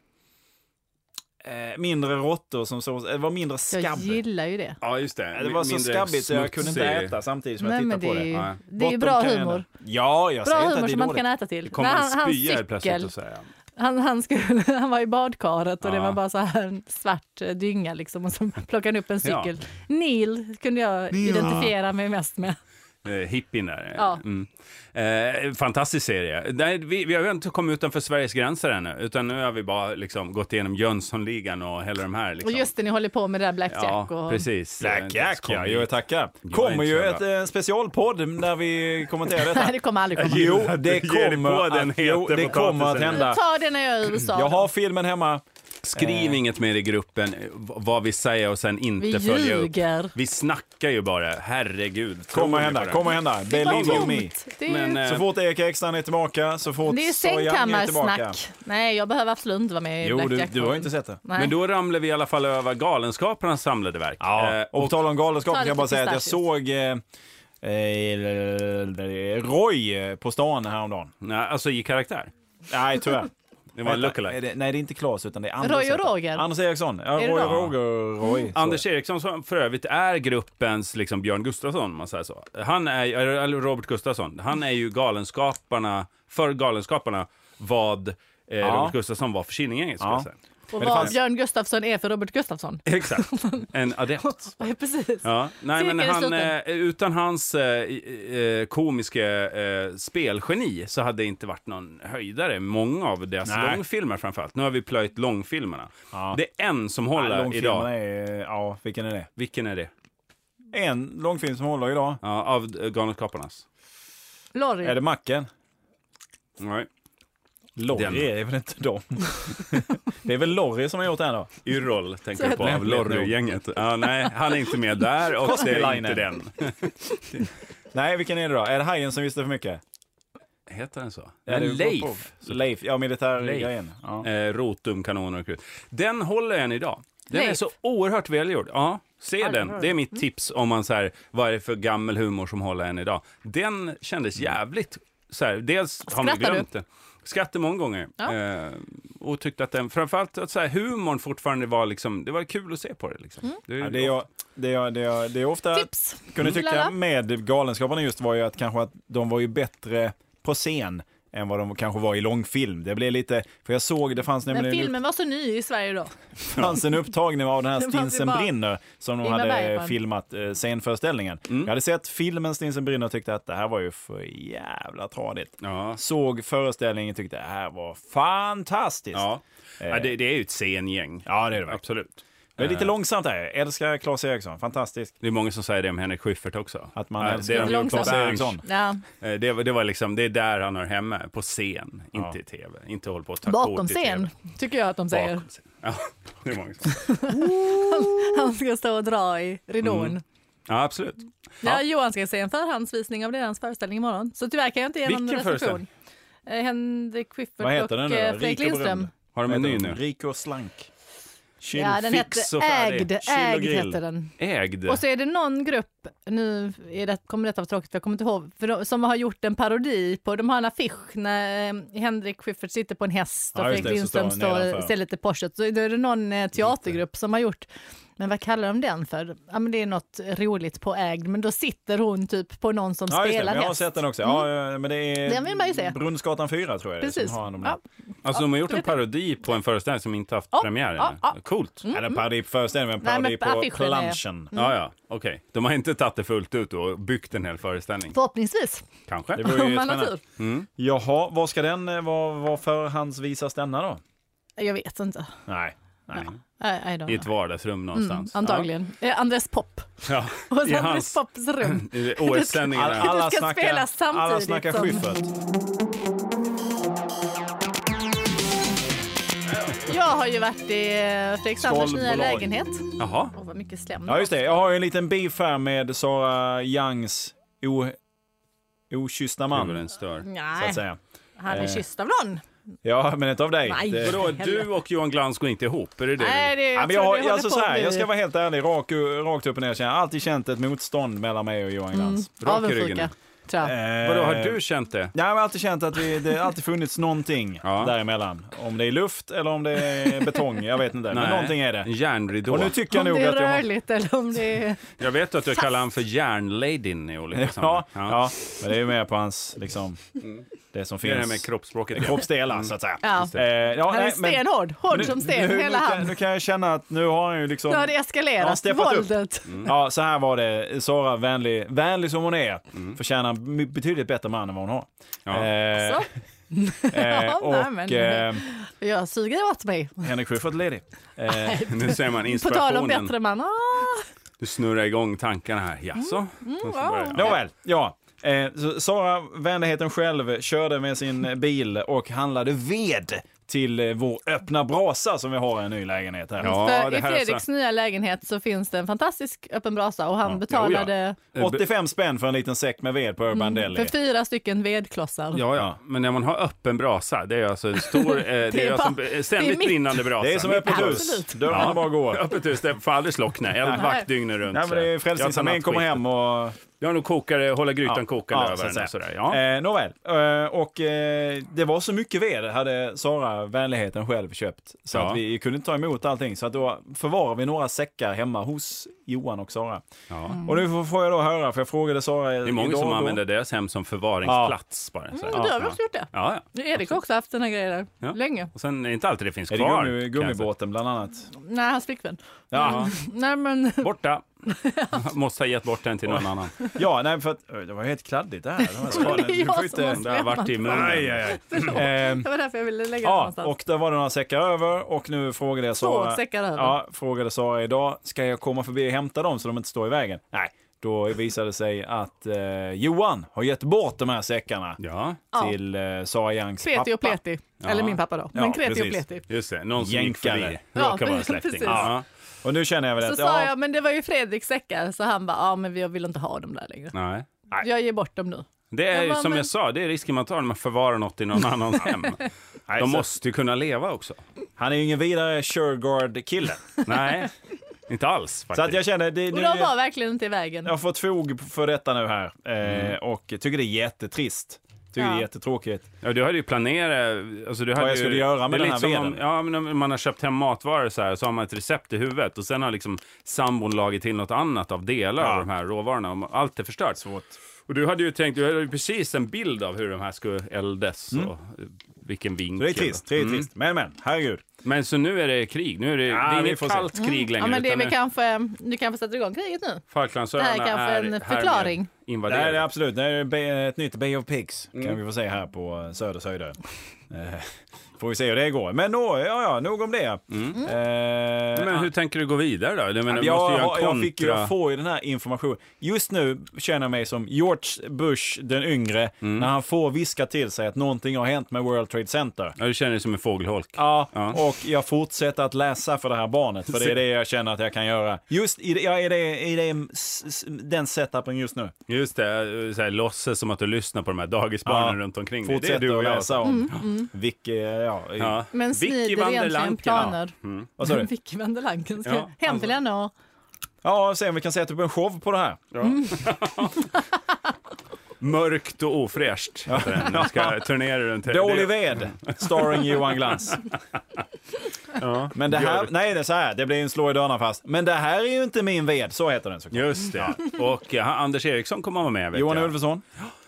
Eh, mindre råttor som så. Det var mindre Jag skabb. gillar ju det. Ja, just det. Det var så Mindre skabbigt så jag kunde inte smutsig- äta samtidigt som Nej, jag men det tittade på är det. ju, Nej. det är ju Bottom bra kan jag humor. ändå- Ja, jag Bra säger inte humor att det är som man dåligt. inte kan äta till. Kommer Nej, han han, hans spya helt plötsligt cykel, och säga. han, han, skulle, han var i badkaret och det Ja. var bara så här en svart eh, dynga liksom och så plockade han upp en Ja. cykel. Neil kunde jag identifiera mig mest med. Eh, hippien där. Ja. Mm. Eh, fantastisk serie. Nej, vi, vi har ju inte kommit utanför Sveriges gränser ännu, utan nu har vi bara liksom, gått igenom Jönssonligan och hela de här. Liksom. Och just det, ni håller på med det där Blackjack ja, och precis. Eh, Blackjack, ja. Jo, tackar. är Kommer inte ju så ett eh, specialpolpodd där vi kommenterar detta. Nej, det kommer aldrig komma. Jo, gillar att det du ger dig på kommer, den att, jo, heta det kommer att potatisen. hända. Ta det när jag är i USA. Jag har filmen hemma. Skriv inget mer i gruppen eh, v- vad vi säger och sen inte Vi följa upp. ljuger. Vi snackar ju bara. Herregud. tror Kommer ni att på hända, det? kommer att hända. det är bara Believe you me. tomt. Det är, ju- Men, eh, Så fort Erik Ekstrand är tillbaka, så fort det är Sojan är tillbaka. sängkammarsnack. Nej, jag behöver absolut inte vara med i Jo, du, Blackjack. du har ju inte sett det. Nej. Men då ramlar vi i alla fall över Galenskaparnas samlade verk. Eh, Ja, och på tal om galenskap Ta kan jag lite bara säga att jag pistachios. såg eh, eh, Roy på stan häromdagen. nej, alltså i karaktär. Nej, tyvärr. Det var en lookalike. Är det- Nej, det är inte Claes, utan det är Anders. Roy och heter han. Roger. Anders Eriksson. Ja, det Roy och de? Roger. Roy. Så. Mm. Anders Eriksson som för övrigt är gruppens liksom Björn Gustafsson, om man säger så. Han är, ju- eller Robert Gustafsson, han är ju Galenskaparna, för Galenskaparna, vad eh, Robert Gustafsson var för Killinggänget, skulle Ja. jag säga. Och det vad fanns- Björn Gustafsson är för Robert Gustafsson. Exakt, en adept. Ja, precis. Ja, nej, Cirkeln men är han, sluten. eh, utan hans eh, i- eh, komiska eh, spelgeni så hade det inte varit någon höjdare. Många av deras Nej. långfilmer framförallt. Nu har vi plöjt långfilmerna. Ja. Det är en som Ja, håller långfilmen idag. är... Ja, vilken är det? Vilken är det? En långfilm som håller idag. Ja, av eh, Galenskaparnas? Lorry. Är det Macken? Nej. Den. Lorry är väl inte dem? det är väl Lorry som har gjort den då? Yrrol tänker Så jag på, heter av det. Lorry-gänget. Ja, nej, han är inte med där och det är inte Koskelainen. den. Nej, vilken är det då? Är det Hajen som visste för mycket? Heter den så? Ja, det Men är Leif. Leif, ja militärgrejen. Leif. Ja. Eh, rotum, kanoner och krut. Den håller än idag. Den är Leif. så oerhört välgjord. Ja, se den den. har Det är mitt tips om man så här, vad är det för gammal humor som håller än idag. Den kändes jävligt, så här, dels har man ju Skrattar du? glömt den. Skrattade många gånger. Ja. Eh, och tyckte att den, framförallt att så här, humorn fortfarande var liksom, det var kul att se på det liksom. Det, är Ja, Det jag, det, jag, det, jag, det jag ofta Tips! kunde tycka Lala. med Galenskaparna just var ju att kanske att de var ju bättre på scen än vad de kanske var i långfilm. Det blev lite, för jag såg, det fanns Men nämligen en, upp, filmen var så ny i Sverige då. fanns en upptagning av den här Det fanns ju Stinsen bara- brinner som de Ingmar hade Bergman. filmat eh, scenföreställningen. Mm. Jag hade sett filmen Stinsen brinner och tyckte att det här var ju för jävla tradigt. ja. Såg föreställningen och tyckte det här var fantastiskt. Ja. ja, det, eh. det är ju ett scengäng. Eh. Ja, det är det verkligen. Absolut. Det är lite långsamt där. Jag älskar Claes Eriksson. Fantastisk. Det är många som säger det om Henrik Schyffert också. Att man Ja, älskar det är de gjort på Claes Berns. Eriksson. Ja. Eh, Det, var- det var liksom, det är där han hör hemma, på scen, Ja. inte i tv. Inte håll på att ta Bakom kort i TV. scen, tycker jag att de säger. Bakom scen. Ja, det är många som- Han ska stå och dra i ridån. Mm. ja, absolut. Ja, Ja. Johan ska se en förhandsvisning av deras föreställning imorgon. Så tyvärr kan jag inte ge någon Vilken recension. Eh, Henrik Vad Schyffert heter den och nu då? eh, Rik Fredrik och berömd. Lindström. Har de en ny nu? Rik och slank. Chill, Ja, den hette fix och färdig. Ägd. Chill och Ägd grill. hette den. Ägd. Och så är det någon grupp, nu är det, kommer detta vara tråkigt för jag kommer inte ihåg, för de, som har gjort en parodi på, de har en affisch när eh, Henrik Schyffert sitter på en häst och Ja, just Fredrik det, så Lindström står han står nedanför. och ser lite Porschet. Så då är det någon eh, teatergrupp som har gjort, men vad kallar de den för? Ja men det är något roligt på ägd, men då sitter hon typ på någon som Ja, just det. spelar Men Jag har häst. sett den också. Ja, eh, men det är Mm. Den vill man ju se. Brunnsgatan 4 tror jag det är Precis. som liksom, har hand om Ja. den. Alltså de har gjort det en vet jag. parodi på en föreställning som inte haft Ja, premiär ja, ännu. ja. Mm. Coolt. Eller parodi på föreställningen, men Nej, parodi men på affischen är- Mm. planschen. Ja, ja, okej. De har inte tagit det fullt ut och byggt en hel föreställning. Förhoppningsvis, Kanske. Det vore om ju man har spännande. tur. Jaha, vad ska den, eh, vad, vad förhandsvisas denna då? Jag vet inte. Nej. Nej. I, I don't I ett know. vardagsrum någonstans. Mm, Antagligen. Eh, Andres Pop. Ja. Och I Andres hans Pops rum. i Alla, OS-sändningarna. alla, ska snackar, spelas samtidigt alla snackar som- Schyffert. Jag har ju varit i eh, Fredrik Sanders nya Skalbolag. lägenhet. Jaha. Åh, vad mycket slem. Ja, just det. Jag har ju en liten beef här med Sara Youngs o, okyssta Gud vad man, den stör. så att Nej, säga. han är Eh. kysst av någon. Ja, men inte av dig. Nej. Det- Vadå, du och Johan Glans går inte ihop? Är det det? Nej, det, Ja, men tror jag, har, det håller jag, alltså, på så att här, bli- jag ska vara helt ärlig, rak, rakt upp och ner. Jag har alltid känt ett motstånd mellan mig och Johan Glans. Rak i Avundsjuka, ryggen. Tror jag. Eh, Mm. Vadå, har du känt det? Nej, men jag har alltid känt att vi, det har alltid funnits någonting Ja. däremellan. Om det är luft eller om det är betong, jag vet inte. Nej. Men någonting är En det. järnridå. Och nu tycker jag om nog det är att jag... har- rörligt eller om det är... Jag vet att du kallar han för järnladyn liksom. i olika Ja, sammanhang. ja, men det är ju mer på hans, liksom, det som Mm. Det är det här med finns. kroppsspråket. Kroppsdelar, så att säga. Ja. Eh, ja, Han är nej, men- stenhård, hård som sten, nu, hela nu, kan, han. nu kan jag känna att nu har han ju liksom... Nu har det eskalerat, Ja, steppat upp. våldet. Mm. Ja, så här var det. Sara, vänlig, vänlig som hon är, förtjänar en my- betydligt bättre man än vad hon har. Mm. Ja. Eh, Så. eh, Ja, nej, och men- eh, Jag suger åt mig. Henrik Schyffert ledig. Eh, Nu På ser man tal om inspirationen. bättre man. Ah, Du snurrar igång tankarna här. Jaså? Mm. Mm. Nåväl, ja. Eh, så Sara, vänligheten själv, körde med sin bil och handlade ved till eh, vår öppna brasa som vi har i en ny lägenhet här. Ja, för det I här är så- Fredriks nya lägenhet så finns det en fantastisk öppen brasa och han Jo, betalade 85 spänn för en liten säck med ved på Urban Mm, för Deli. fyra stycken vedklossar. Ja, ja, men när man har öppen brasa, det är alltså en stor, eh, det är är alltså bara- en det ständigt är mitt. brinnande brasa. Det är som öppet hus, Absolut. dörrarna bara går. Öppet hus, det får aldrig slockna. Eldvakt dygnet runt. Nej, men det är så. Jag tar Frälsningsarmén kommer nattskift. hem och Ja, då kokar det, hålla grytan Ja, kokande ja, så över att den. och säga. Sådär, ja. Eh, nåväl, eh, och eh, det var så mycket ved hade Sara vänligheten själv köpt. Så Ja. att vi kunde inte ta emot allting. Så att då förvarade vi några säckar hemma hos Johan och Sara. ja. Och nu får- får jag då höra, för jag frågade Sara Mm. Det är många som mm. då. använder deras hem som förvaringsplats. Bara, så här. Mm, du har väl ja. också gjort det? Ja, ja. Erik har också haft sina grejer där Ja. länge. Och sen är det inte alltid det finns Är det kvar. gummi, kan jag gummibåten bland annat? Nej, hans flickvän. Ja, Nej, men säga. Borta. Måste ha gett bort den till någon annan. ja nej, för att, oj, det var helt kladdigt det här. Det var- det är du får jag som inte- har Det har varit i munnen. Aj, aj, aj. Eh, det var därför jag ville lägga det Ja, någonstans. och där var det några säckar över och nu frågade jag Två Sara. säckar över. Ja, frågade Sara idag, ska jag komma förbi och hämta dem så de inte står i vägen? Nej, då visade det sig att eh, Johan har gett bort de här säckarna Ja, Ja. till eh, Sara Youngs pappa. Kreti och pleti. Eller min pappa då. Ja, men kreti och precis. pleti. just det. Någon som gick Jänkare. förbi. Ja, Råkar vara släkting. precis. Ja. Och nu känner jag väl Så att, sa ja, jag, men det var ju Fredriks säckar. Så han bara, ja men jag vill inte ha dem där längre. Nej. Jag ger bort dem nu. Det är Jag ju bara, som men- jag sa, det är risken man tar när man förvarar något i någon annans hem. De så- måste ju kunna leva också. han är ju ingen vidare Shergard-kille. Nej, inte alls Så att faktiskt. jag känner, det, Och nu, de var verkligen inte i vägen. jag har fått fog för detta nu här eh, och tycker det är jättetrist. Tycker det är Ja. jättetråkigt. Ja, du hade ju planerat. Alltså du hade jag ju, skulle göra med det är den lite här som veden. Om, ja, men om man har köpt hem matvaror så här, så har man ett recept i huvudet och sen har liksom sambon lagit till något annat av delar Ja. av de här råvarorna. och Allt är förstört. Svårt. Och du hade ju tänkt, du hade ju precis en bild av hur de här skulle eldas och eh, vilken vinkel. Så Mm. det är trist, det är trist. Men men, herregud. Men så nu är det krig, nu är det, det vi är inget får se. kallt krig längre. Mm. ja, men det är utan väl nu- kanske, du kanske sätter igång kriget nu? Falklandsöarna Det här är kanske en härmed förklaring. Det Mm. här är Invaderade. absolut. Det här är Bay- ett nytt Bay of Pigs kan vi få se här på eh, Söders höjder. Eh, Får vi se hur det går. Men nå, ja, ja, nog om det. Eh, Men hur tänker du gå vidare då? Jag menar, du måste jag, ju göra en har- kontra... jag, fick, ju- jag får ju den här informationen. Just nu känner jag mig som George Bush den yngre Mm. när han får viska till sig att någonting har hänt med World Trade Center. Ja, du känner dig som en fågelholk. Ja, Ja. och jag fortsätter att läsa för det här barnet, för det är det jag känner att jag kan göra. Just i, det- jag är det, i det, s- s- den setupen just nu. Just det, så här, låtsas som att du lyssnar på de här dagisbarnen Ja. runt omkring dig. Det är Fortsätter du och att jag. läsa om. Vilket, eh, ja, Ja. Men Vicky smider van der egentligen Lanken. planer. Vad sa du? alltså. Vicky van der Lanken ska Ja, hem till henne och... Ja, se om vi kan sätta upp en show på det här. Mörkt och ofräscht. heter den. De ska turnera runt här. Dålig ved, starring Johan Glans. Ja. Men det här, Björk. nej det är så här, det blir en slå i dörrarna fast. Men det här är ju inte min ved, så heter den såklart. Just det. Och ja, Anders Eriksson kommer att vara med. Vet Johan jag. Ulveson.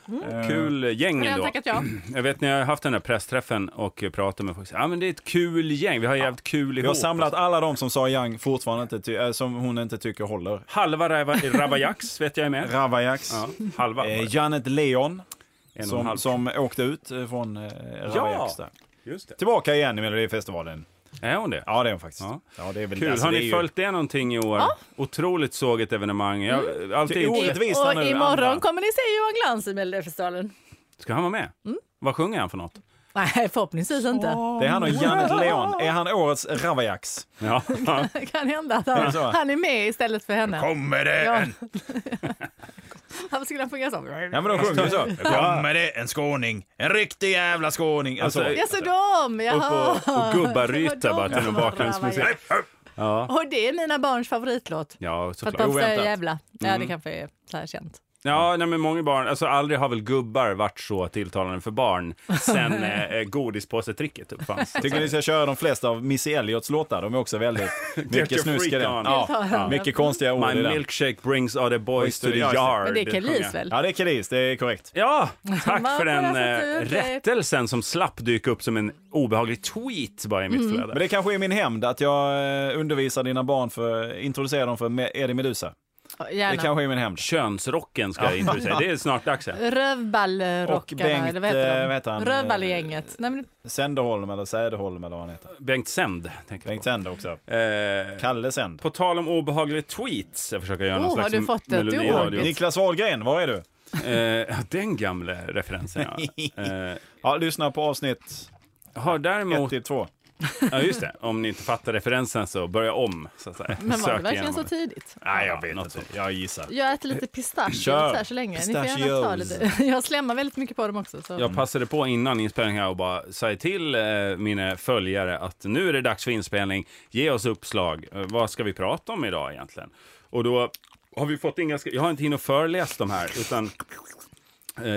Mm. Eh, Kul gäng Redan ändå. tackat ja. Jag vet när jag har haft den här pressträffen och pratat med folk. Ja, men det är ett kul gäng. Vi har jävligt kul ihop. Vi har samlat alla de som sa Yang fortfarande inte, ty- eh, som hon inte tycker håller. Halva Rava- Ravajax vet jag är med. Ravajax. Ja, halva. var det. Eh, Janet Leon, En och en halv. som, som åkte ut eh, från eh, Ravajax. där. Just det. Tillbaka igen i Melodifestivalen. Är hon det? Ja, det är hon faktiskt. Ja. Ja. det är väl, Kul. alltså, har det är ni ju- följt det någonting i år? Otroligt såget evenemang. Jag, Mm. eh, alltid... Det är orättvist. Orättvisa och nu, imorgon andra. kommer ni se Johan Glans i Melodifestivalen. Ska han vara med? Mm. Vad sjunger han för något? Nej, förhoppningsvis inte. Det är han och Oh. Janet Leon. Är han årets Ravajax? Ja. Det kan hända att det han, så? han är med istället för henne. Kommer det Ja. Varför skulle han sjunga så? Ja men de sjunger ju så. Kommer det en skåning, en riktig jävla skåning. Alltså, Alltså, Ja, så de! Jaha. och, och Det gubbaryta var bara de till någon som var bakgrundsmusik. Ravajax. Ja, Och det är mina barns favoritlåt. ja För att såklart. de säger Oväntat. Mm. jävla. Ja, det kanske är så här känt. Ja, nej, men många barn, alltså aldrig har väl gubbar varit så tilltalande för barn sen eh, godispåsetricket uppfanns. tycker ni ska köra de flesta av Missy Elliots låtar? De är också väldigt mycket your snusk i freak den. on. Ja, Ja. mycket konstiga ord i My den. milkshake brings all the boys to the yard. Men det är sjunger. Kelis väl? Ja det är Kelis, det är korrekt. Ja, tack Varför för den har jag eh, fått ut det? rättelsen som slapp dyka upp som en obehaglig tweet bara i mitt Mm. flöde. Men det kanske är min hämnd att jag eh, undervisar dina barn för, introducerar dem för Me- Eddie Meduza. Ja, Det Gärna. kanske är min hämnd. Könsrocken ska jag introducera. Det är snart dags. här. Och Rövballrockarna, Bengt, eller vad heter eh, de? vad heter han? Rövballegänget. Nej, men Sänderholm eller Säderholm eller vad han heter. Bengt Sänd. tänker jag Bengt på. Sänder också. Eh, Kalle Sänd. på tal om obehagliga tweets. Jag försöker göra någon Oh, slags har du fått det? melodi- Det är Och Radio. Niklas Wahlgren, var är du? Eh, den gamla referensen, ja. Eh, Ja, lyssna på avsnitt har däremot... 1 till 2. Ja, just det. Om ni inte fattar referensen så börja om. Så att säga. men var det Sök verkligen igenom så det. tidigt? Nej, jag vet inte. Jag gissar. Jag äter lite pistache så Eh, Kör. här så länge. Ni får gärna ta Pistachios. lite. Jag slämmar väldigt mycket på dem också. Så. Jag passade på innan inspelningen här och bara sa till eh, mina följare att nu är det dags för inspelning. Ge oss uppslag. Eh, vad ska vi prata om idag egentligen? Och då har vi fått in ganska... Jag har inte hinner föreläst de här, utan... eh,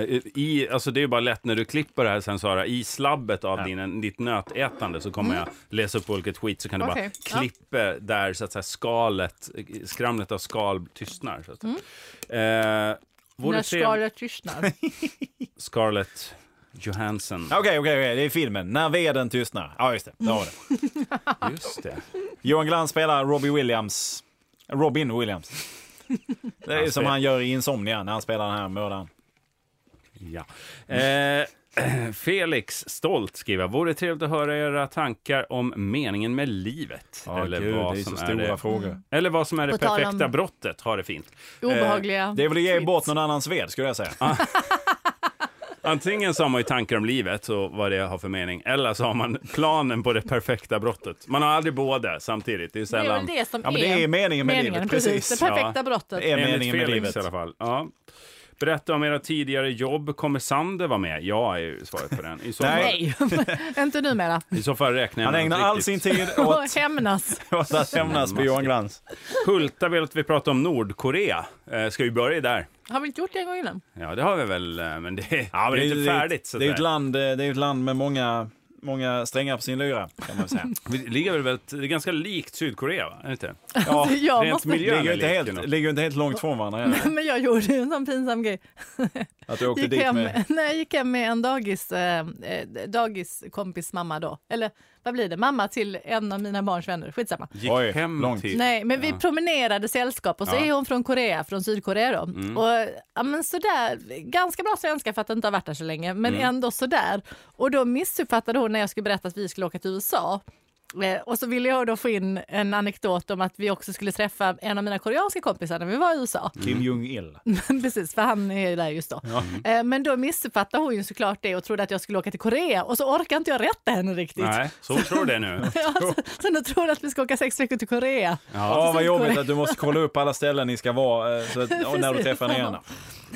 I, alltså det är ju bara lätt när du klipper det här sen Sara, i slabbet av din, ditt nötätande så kommer jag läsa upp olika skit så kan du Okej, bara ja. klippa där så att säga skalet, eh, skramlet av skal tystnar. Så att, säga. eh, vore När trev- skalet tystnar. Scarlett Johansson. Okej, okej, okej, det är filmen. När veden tystnar. Ja, just det. Där har vi det. Just det. Johan Glans spelar Robbie Williams. Robin Williams. Det är Han som spelar- han gör i Insomnia när han spelar den här mördaren. Ja. Eh, Felix Stolt skriver, vore trevligt att höra era tankar om meningen med livet. Ja, gud, det är så stora det, Mm. frågor. eller vad som är det På tal om- perfekta brottet. Ha det fint. Obehagliga. Eh, Det är väl att ge tweets. bort någon annans ved, skulle jag säga. Antingen så har man ju tankar om livet och vad det har för mening, eller så har man planen på det perfekta brottet. Man har aldrig båda samtidigt. Det är Det är sällan... väl det som Ja, men det är meningen med livet, precis. Det perfekta Ja. brottet. Det är Enligt meningen med Felix livet. i alla fall. Ja. Berätta om era tidigare jobb. Kommer Sander vara med? Ja, är ju svaret på den. I så, Nej. Nej, inte numera. Fall, i så fall räknar jag Han med ägnar något all riktigt. sin tid åt Hämnas. åt att hämnas på Johan Glans. Hulta vill att vi pratar om Nordkorea. Eh, ska vi börja där? Har vi inte gjort det en gång innan? Ja, det har vi väl, eh, men det, är- det är ju- inte färdigt. Det så är ju att ett säga. land, eh, det är ju ett land med många, många strängar på sin lyra, kan man väl säga. Vi ligger väl väldigt, det är ganska likt Sydkorea, va? Är det inte? Ja, Alltså, jag rent måste... miljö- ligger ju inte, leker helt, nog. ligger ju inte helt långt från varandra. heller. Men jag gjorde ju en sån pinsam grej. Att du åkte Gick dit hem, med... nej, jag gick hem med en dagis, eh, eh, dagiskompis mamma då. Eller vad blir det? Mamma till en av mina barns vänner. Skitsamma. Gick Oj, hem långt. till... Nej, men vi promenerade sällskap och så Ja. Mm. är hon från Korea, från Sydkorea då. Och ja, men sådär, ganska bra svenska för att inte ha varit där så länge, men Mm. ändå sådär. Och då missuppfattade hon när jag skulle berätta att vi skulle åka till USA. Eh, Och så ville jag då få in en anekdot om att vi också skulle träffa en av mina koreanska kompisar när vi var i USA. Kim Jong-Il. Precis, för han är ju där just då. Eh, Men då missuppfattade hon ju såklart det och trodde att jag skulle åka till Korea och så orkade inte jag rätta henne riktigt. Nej, så tror det nu. Ja, så, så nu tror hon att vi ska åka sex veckor till Korea. Ja, vad jobbigt att du måste kolla upp alla ställen ni ska vara eh, så att, och när du Precis. träffar henne igen.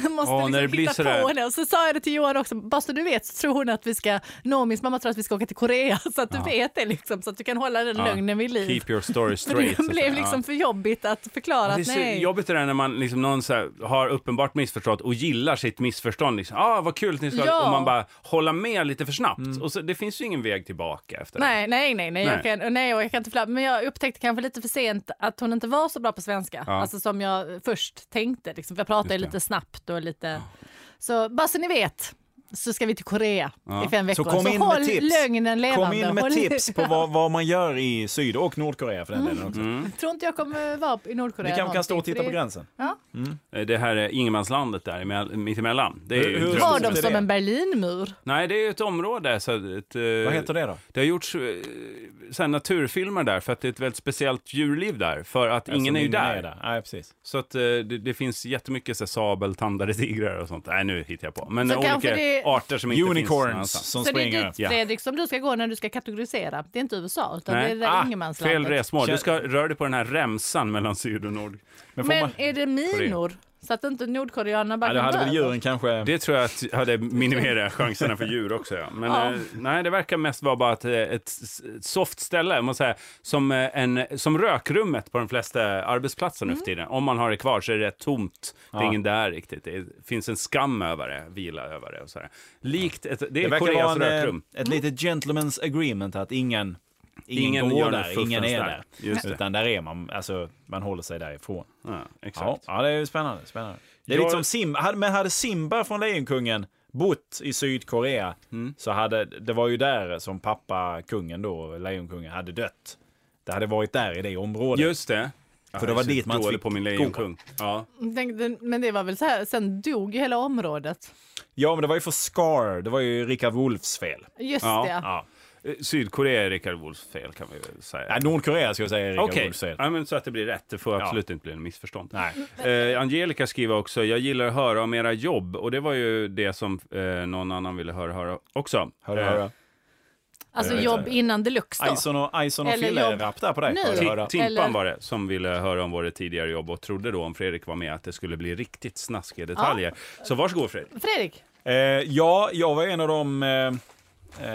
Jag måste Ja, liksom när det blir hitta sådär- på henne. Och så sa jag det till Johan också, bara så du vet så tror hon att vi ska, Noomis mamma tror att vi ska åka till Korea så att du vet det liksom så att du kan hålla den Ja. lögnen vid liv. Keep your story För straight. så det att blev säga. Ja. liksom för jobbigt att förklara Det är att så nej. jobbigt det där när man liksom någon så här har uppenbart missförstått och gillar sitt missförstånd. Liksom. Ah, vad kul att ni ska... Ja. Och man bara håller med lite för snabbt. Och så, det finns ju ingen väg tillbaka efter det. Nej, nej, nej, nej, Mm. Nej. Jag kan, nej, och jag kan inte förklara. Men jag upptäckte kanske lite för sent att hon inte var så bra på svenska, Ja. alltså som jag först tänkte. Liksom. För Jag pratade Just det. lite snabbt och lite, så bara så ni vet så ska vi till Korea Ja. i fem veckor. kom in med håll tips. lögnen levande. Kom in med Håll- tips på vad, vad man gör i Syd och Nordkorea för den delen också. Tror inte jag kommer vara i Ni Nordkorea. kanske kan stå och Mm. någonting, för titta på det- gränsen. Eh, Det här är ingenmanslandet där emell- mittemellan. Det är ju Hur- hur- drömmen. Var de Det är som det. en Berlinmur? Nej, det är ju ett område. Så ett, eh, Vad heter det då? Alltså, Det har gjorts eh, så här naturfilmer där för att det är ett väldigt speciellt djurliv där. För att ingen är ju där. Nej, precis. Så att eh, det, det finns jättemycket så här, sabeltandade tigrar och sånt. Nej, nu hittar jag på. Men Så eh, kanske olika det- arter som inte finns någon Unicorns annanstans. som Så det är springer. dit Ja. Fredrik som du ska gå när du ska kategorisera. Det är inte USA utan det är det där Ah, ingenmanslandet. Ah, fel resmål. Du Känn- ska röra dig på den här remsan mellan syd och nord. Men får Men man... är det minor? Så att inte nordkoreanerna bara Ja, det hade kan väl dö? djuren kanske... Det tror jag att hade minimerat chanserna för djur också. Ja. Men Ja. Eh, nej, det verkar mest vara bara ett, eh, ett, s- ett soft ställe, jag måste säga, som, eh, en, som rökrummet på de flesta arbetsplatser nu för tiden. Om man har det kvar så är det rätt tomt. Det är Ja. ingen där riktigt. Det är- finns en skam över det, vila över det och så här. Likt ett, det Det är verkar Koreas vara en, rökrum. eh, ett litet gentleman's agreement att ingen, ingen, Ingen går gör något där, ingen är fuffens där. där. Just det. Utan där är man, alltså man håller sig därifrån. Ja, exakt. Ja, ja, det är ju spännande. spännande. Det är Jag- lite som Sim, hade- men hade Simba från Lejonkungen bott i Sydkorea så hade, det var ju där som pappa, kungen då, Lejonkungen, hade dött. Det hade varit där i det området. Just det. För det var dit man dålig fick på min gå. lejonkung. Ja. Jag tänkte- Men det var väl så här, sen dog ju hela området. Ja, men det var ju för Scar, det var ju Rickard Wolffs fel. Just Ja. det. Ja. Eh, Sydkorea är Rickard Wolffs fel kan vi väl säga. Ja, Nordkorea ska jag säga är Rickard Okej, Wolffs fel. ja, men så att det blir rätt. Det får Ja. absolut inte bli en missförstånd. Nej. Eh, Angelica skriver också, jag gillar att höra om era jobb. Och det var ju det som eh, någon annan ville höra, höra också. Hör du, Eh, hör du? Alltså Jag vet jobb inte. innan deluxe då. Ison och, Ison och Eller Fille är jobb. rapp där på dig. Nu. Hör du, hör du? Ti- Timpan Eller- var det som ville höra om våra tidigare jobb och trodde då om Fredrik var med att det skulle bli riktigt snaskiga detaljer. Så varsågod Fredrik. Fredrik, Eh, ja, jag var en av de eh, Eh,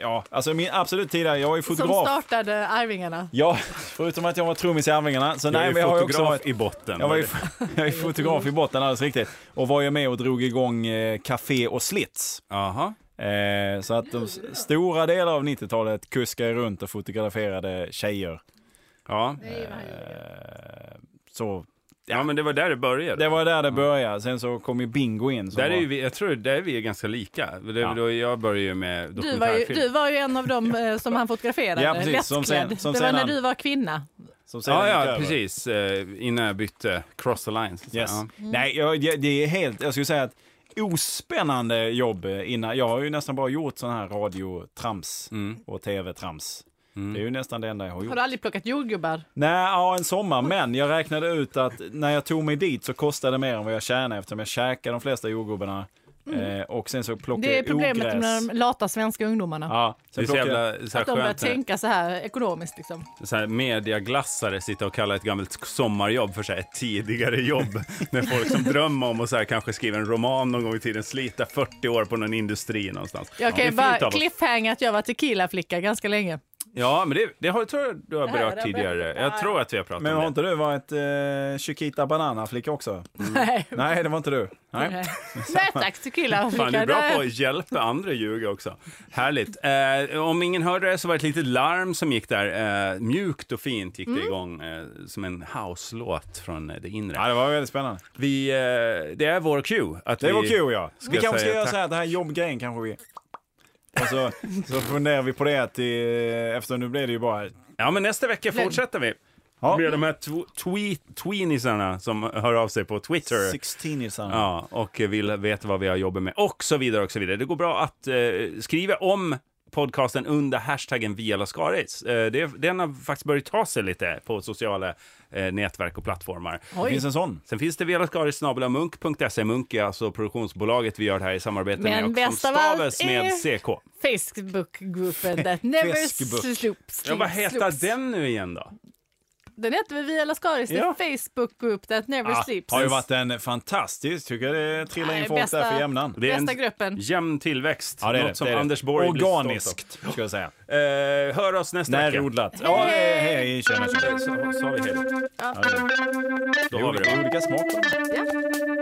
ja, alltså min absolut tidigare, jag är Som fotograf. startade Arvingarna. Ja, förutom att jag var trummis i Arvingarna. Så jag nej, är men jag har ju fotograf också varit... i botten. Jag var ju, jag är fotograf i botten alldeles riktigt. Och var ju med och drog igång eh, Café och Slits. Aha. Eh, så att de s- stora delar av 90-talet kuskade jag runt och fotograferade tjejer. Ja. Eh, så ja, men det var där det började. det var där det började. Sen så kom ju Bingo in. Som Där är var, ju vi, jag tror där är vi ganska lika. Det, Ja. då jag började ju med Du var, ju, dokumentärfilm. du var ju en av dem eh, som han fotograferade, Ja, precis, som lättklädd. sen- som det var sen när han- du var kvinna. som sedan Ja, gick ja, över. precis. Eh, Innan jag bytte Cross the Lines. så att Yes. säga. Mm. Nej, jag, det- det är helt, jag skulle säga att ospännande jobb eh, innan. Jag har ju nästan bara gjort sån här radiotrams Mm. och tv-trams. Det är ju nästan det enda jag har gjort. Har du aldrig plockat jordgubbar? Nej, ja, en sommar. Men jag räknade ut att när jag tog mig dit så kostade det mer än vad jag tjänade eftersom jag käkade de flesta jordgubbarna. Eh, och sen så plockade Mm. Det är jag problemet ogräs. med de lata svenska ungdomarna. Ja, Det sen är så plockade jag... jävla så här att de börjar skönt. när- tänka så här ekonomiskt. Liksom. så här mediaglassare sitta och kalla ett gammalt sommarjobb för så här ett tidigare jobb. När folk som drömmer om att så här kanske skriva en roman någon gång i tiden slita 40 år på någon industri någonstans. Jag kan det ju är fint av bara oss. Mm. cliffhanga att jag var tequila-flicka ganska länge. Ja, men det, det har, tror jag du har Det här har berört jag tidigare. berättat. Jag tror att vi har pratat Men har om det. inte du varit eh, Chiquita Banana-flicka Mm. också? Nej. Nej, det var inte du. Nej. Nej. Nej tack, tequila-flicka. Fan, du är bra Nej. på att hjälpa andra ljuga också. Härligt. Eh, om ingen hörde det så var det ett litet larm som gick där. Eh, mjukt och fint gick det igång eh, som en house-låt från eh, det inre. Ja, det var väldigt spännande. Vi, eh, det är vår cue. Att Det var vi, kul ja. Ska vi jag kanske ska säga göra tack? så här, den här jobbgrejen kanske vi... Och så, så funderar vi på det till, eftersom nu blir det ju bara... Ja, men nästa vecka fortsätter vi. Ja. Med de här tw- tweet, tweenisarna som hör av sig på Twitter. 16 i samma. Ja, och vill veta vad vi har jobbat med och så vidare och så vidare. Det går bra att eh, skriva om podcasten under hashtaggen Via Lascaris. Eh, det, den har faktiskt börjat ta sig lite på sociala eh, nätverk och plattformar. Det Oj. finns en sån. Sen finns det vialascaris.munk.se. Munk är alltså produktionsbolaget vi gör det här i samarbete Men med och som bäst av allt stavas är- med CK. Facebookgruppen that never Facebook. sloops. Ja, vad heter den nu igen då? Den heter väl Via Lascaris, Ja. Ah, ja. Facebookgroup that never Ja, sleeps. har ju varit en fantastisk, tycker jag det trillar in Nej, folk där bästa- för jämnan. Det är Bästa en gruppen. jämn tillväxt. Ja, det är Något det, som det är det. Anders Borg blir stolt av. Organiskt, ska jag säga. Eh, hör oss nästa vecka. Närodlat. Ja, hej, hej, tjena, tjena. Så, så har vi hej då. Då har vi det. Olika smak. Ja.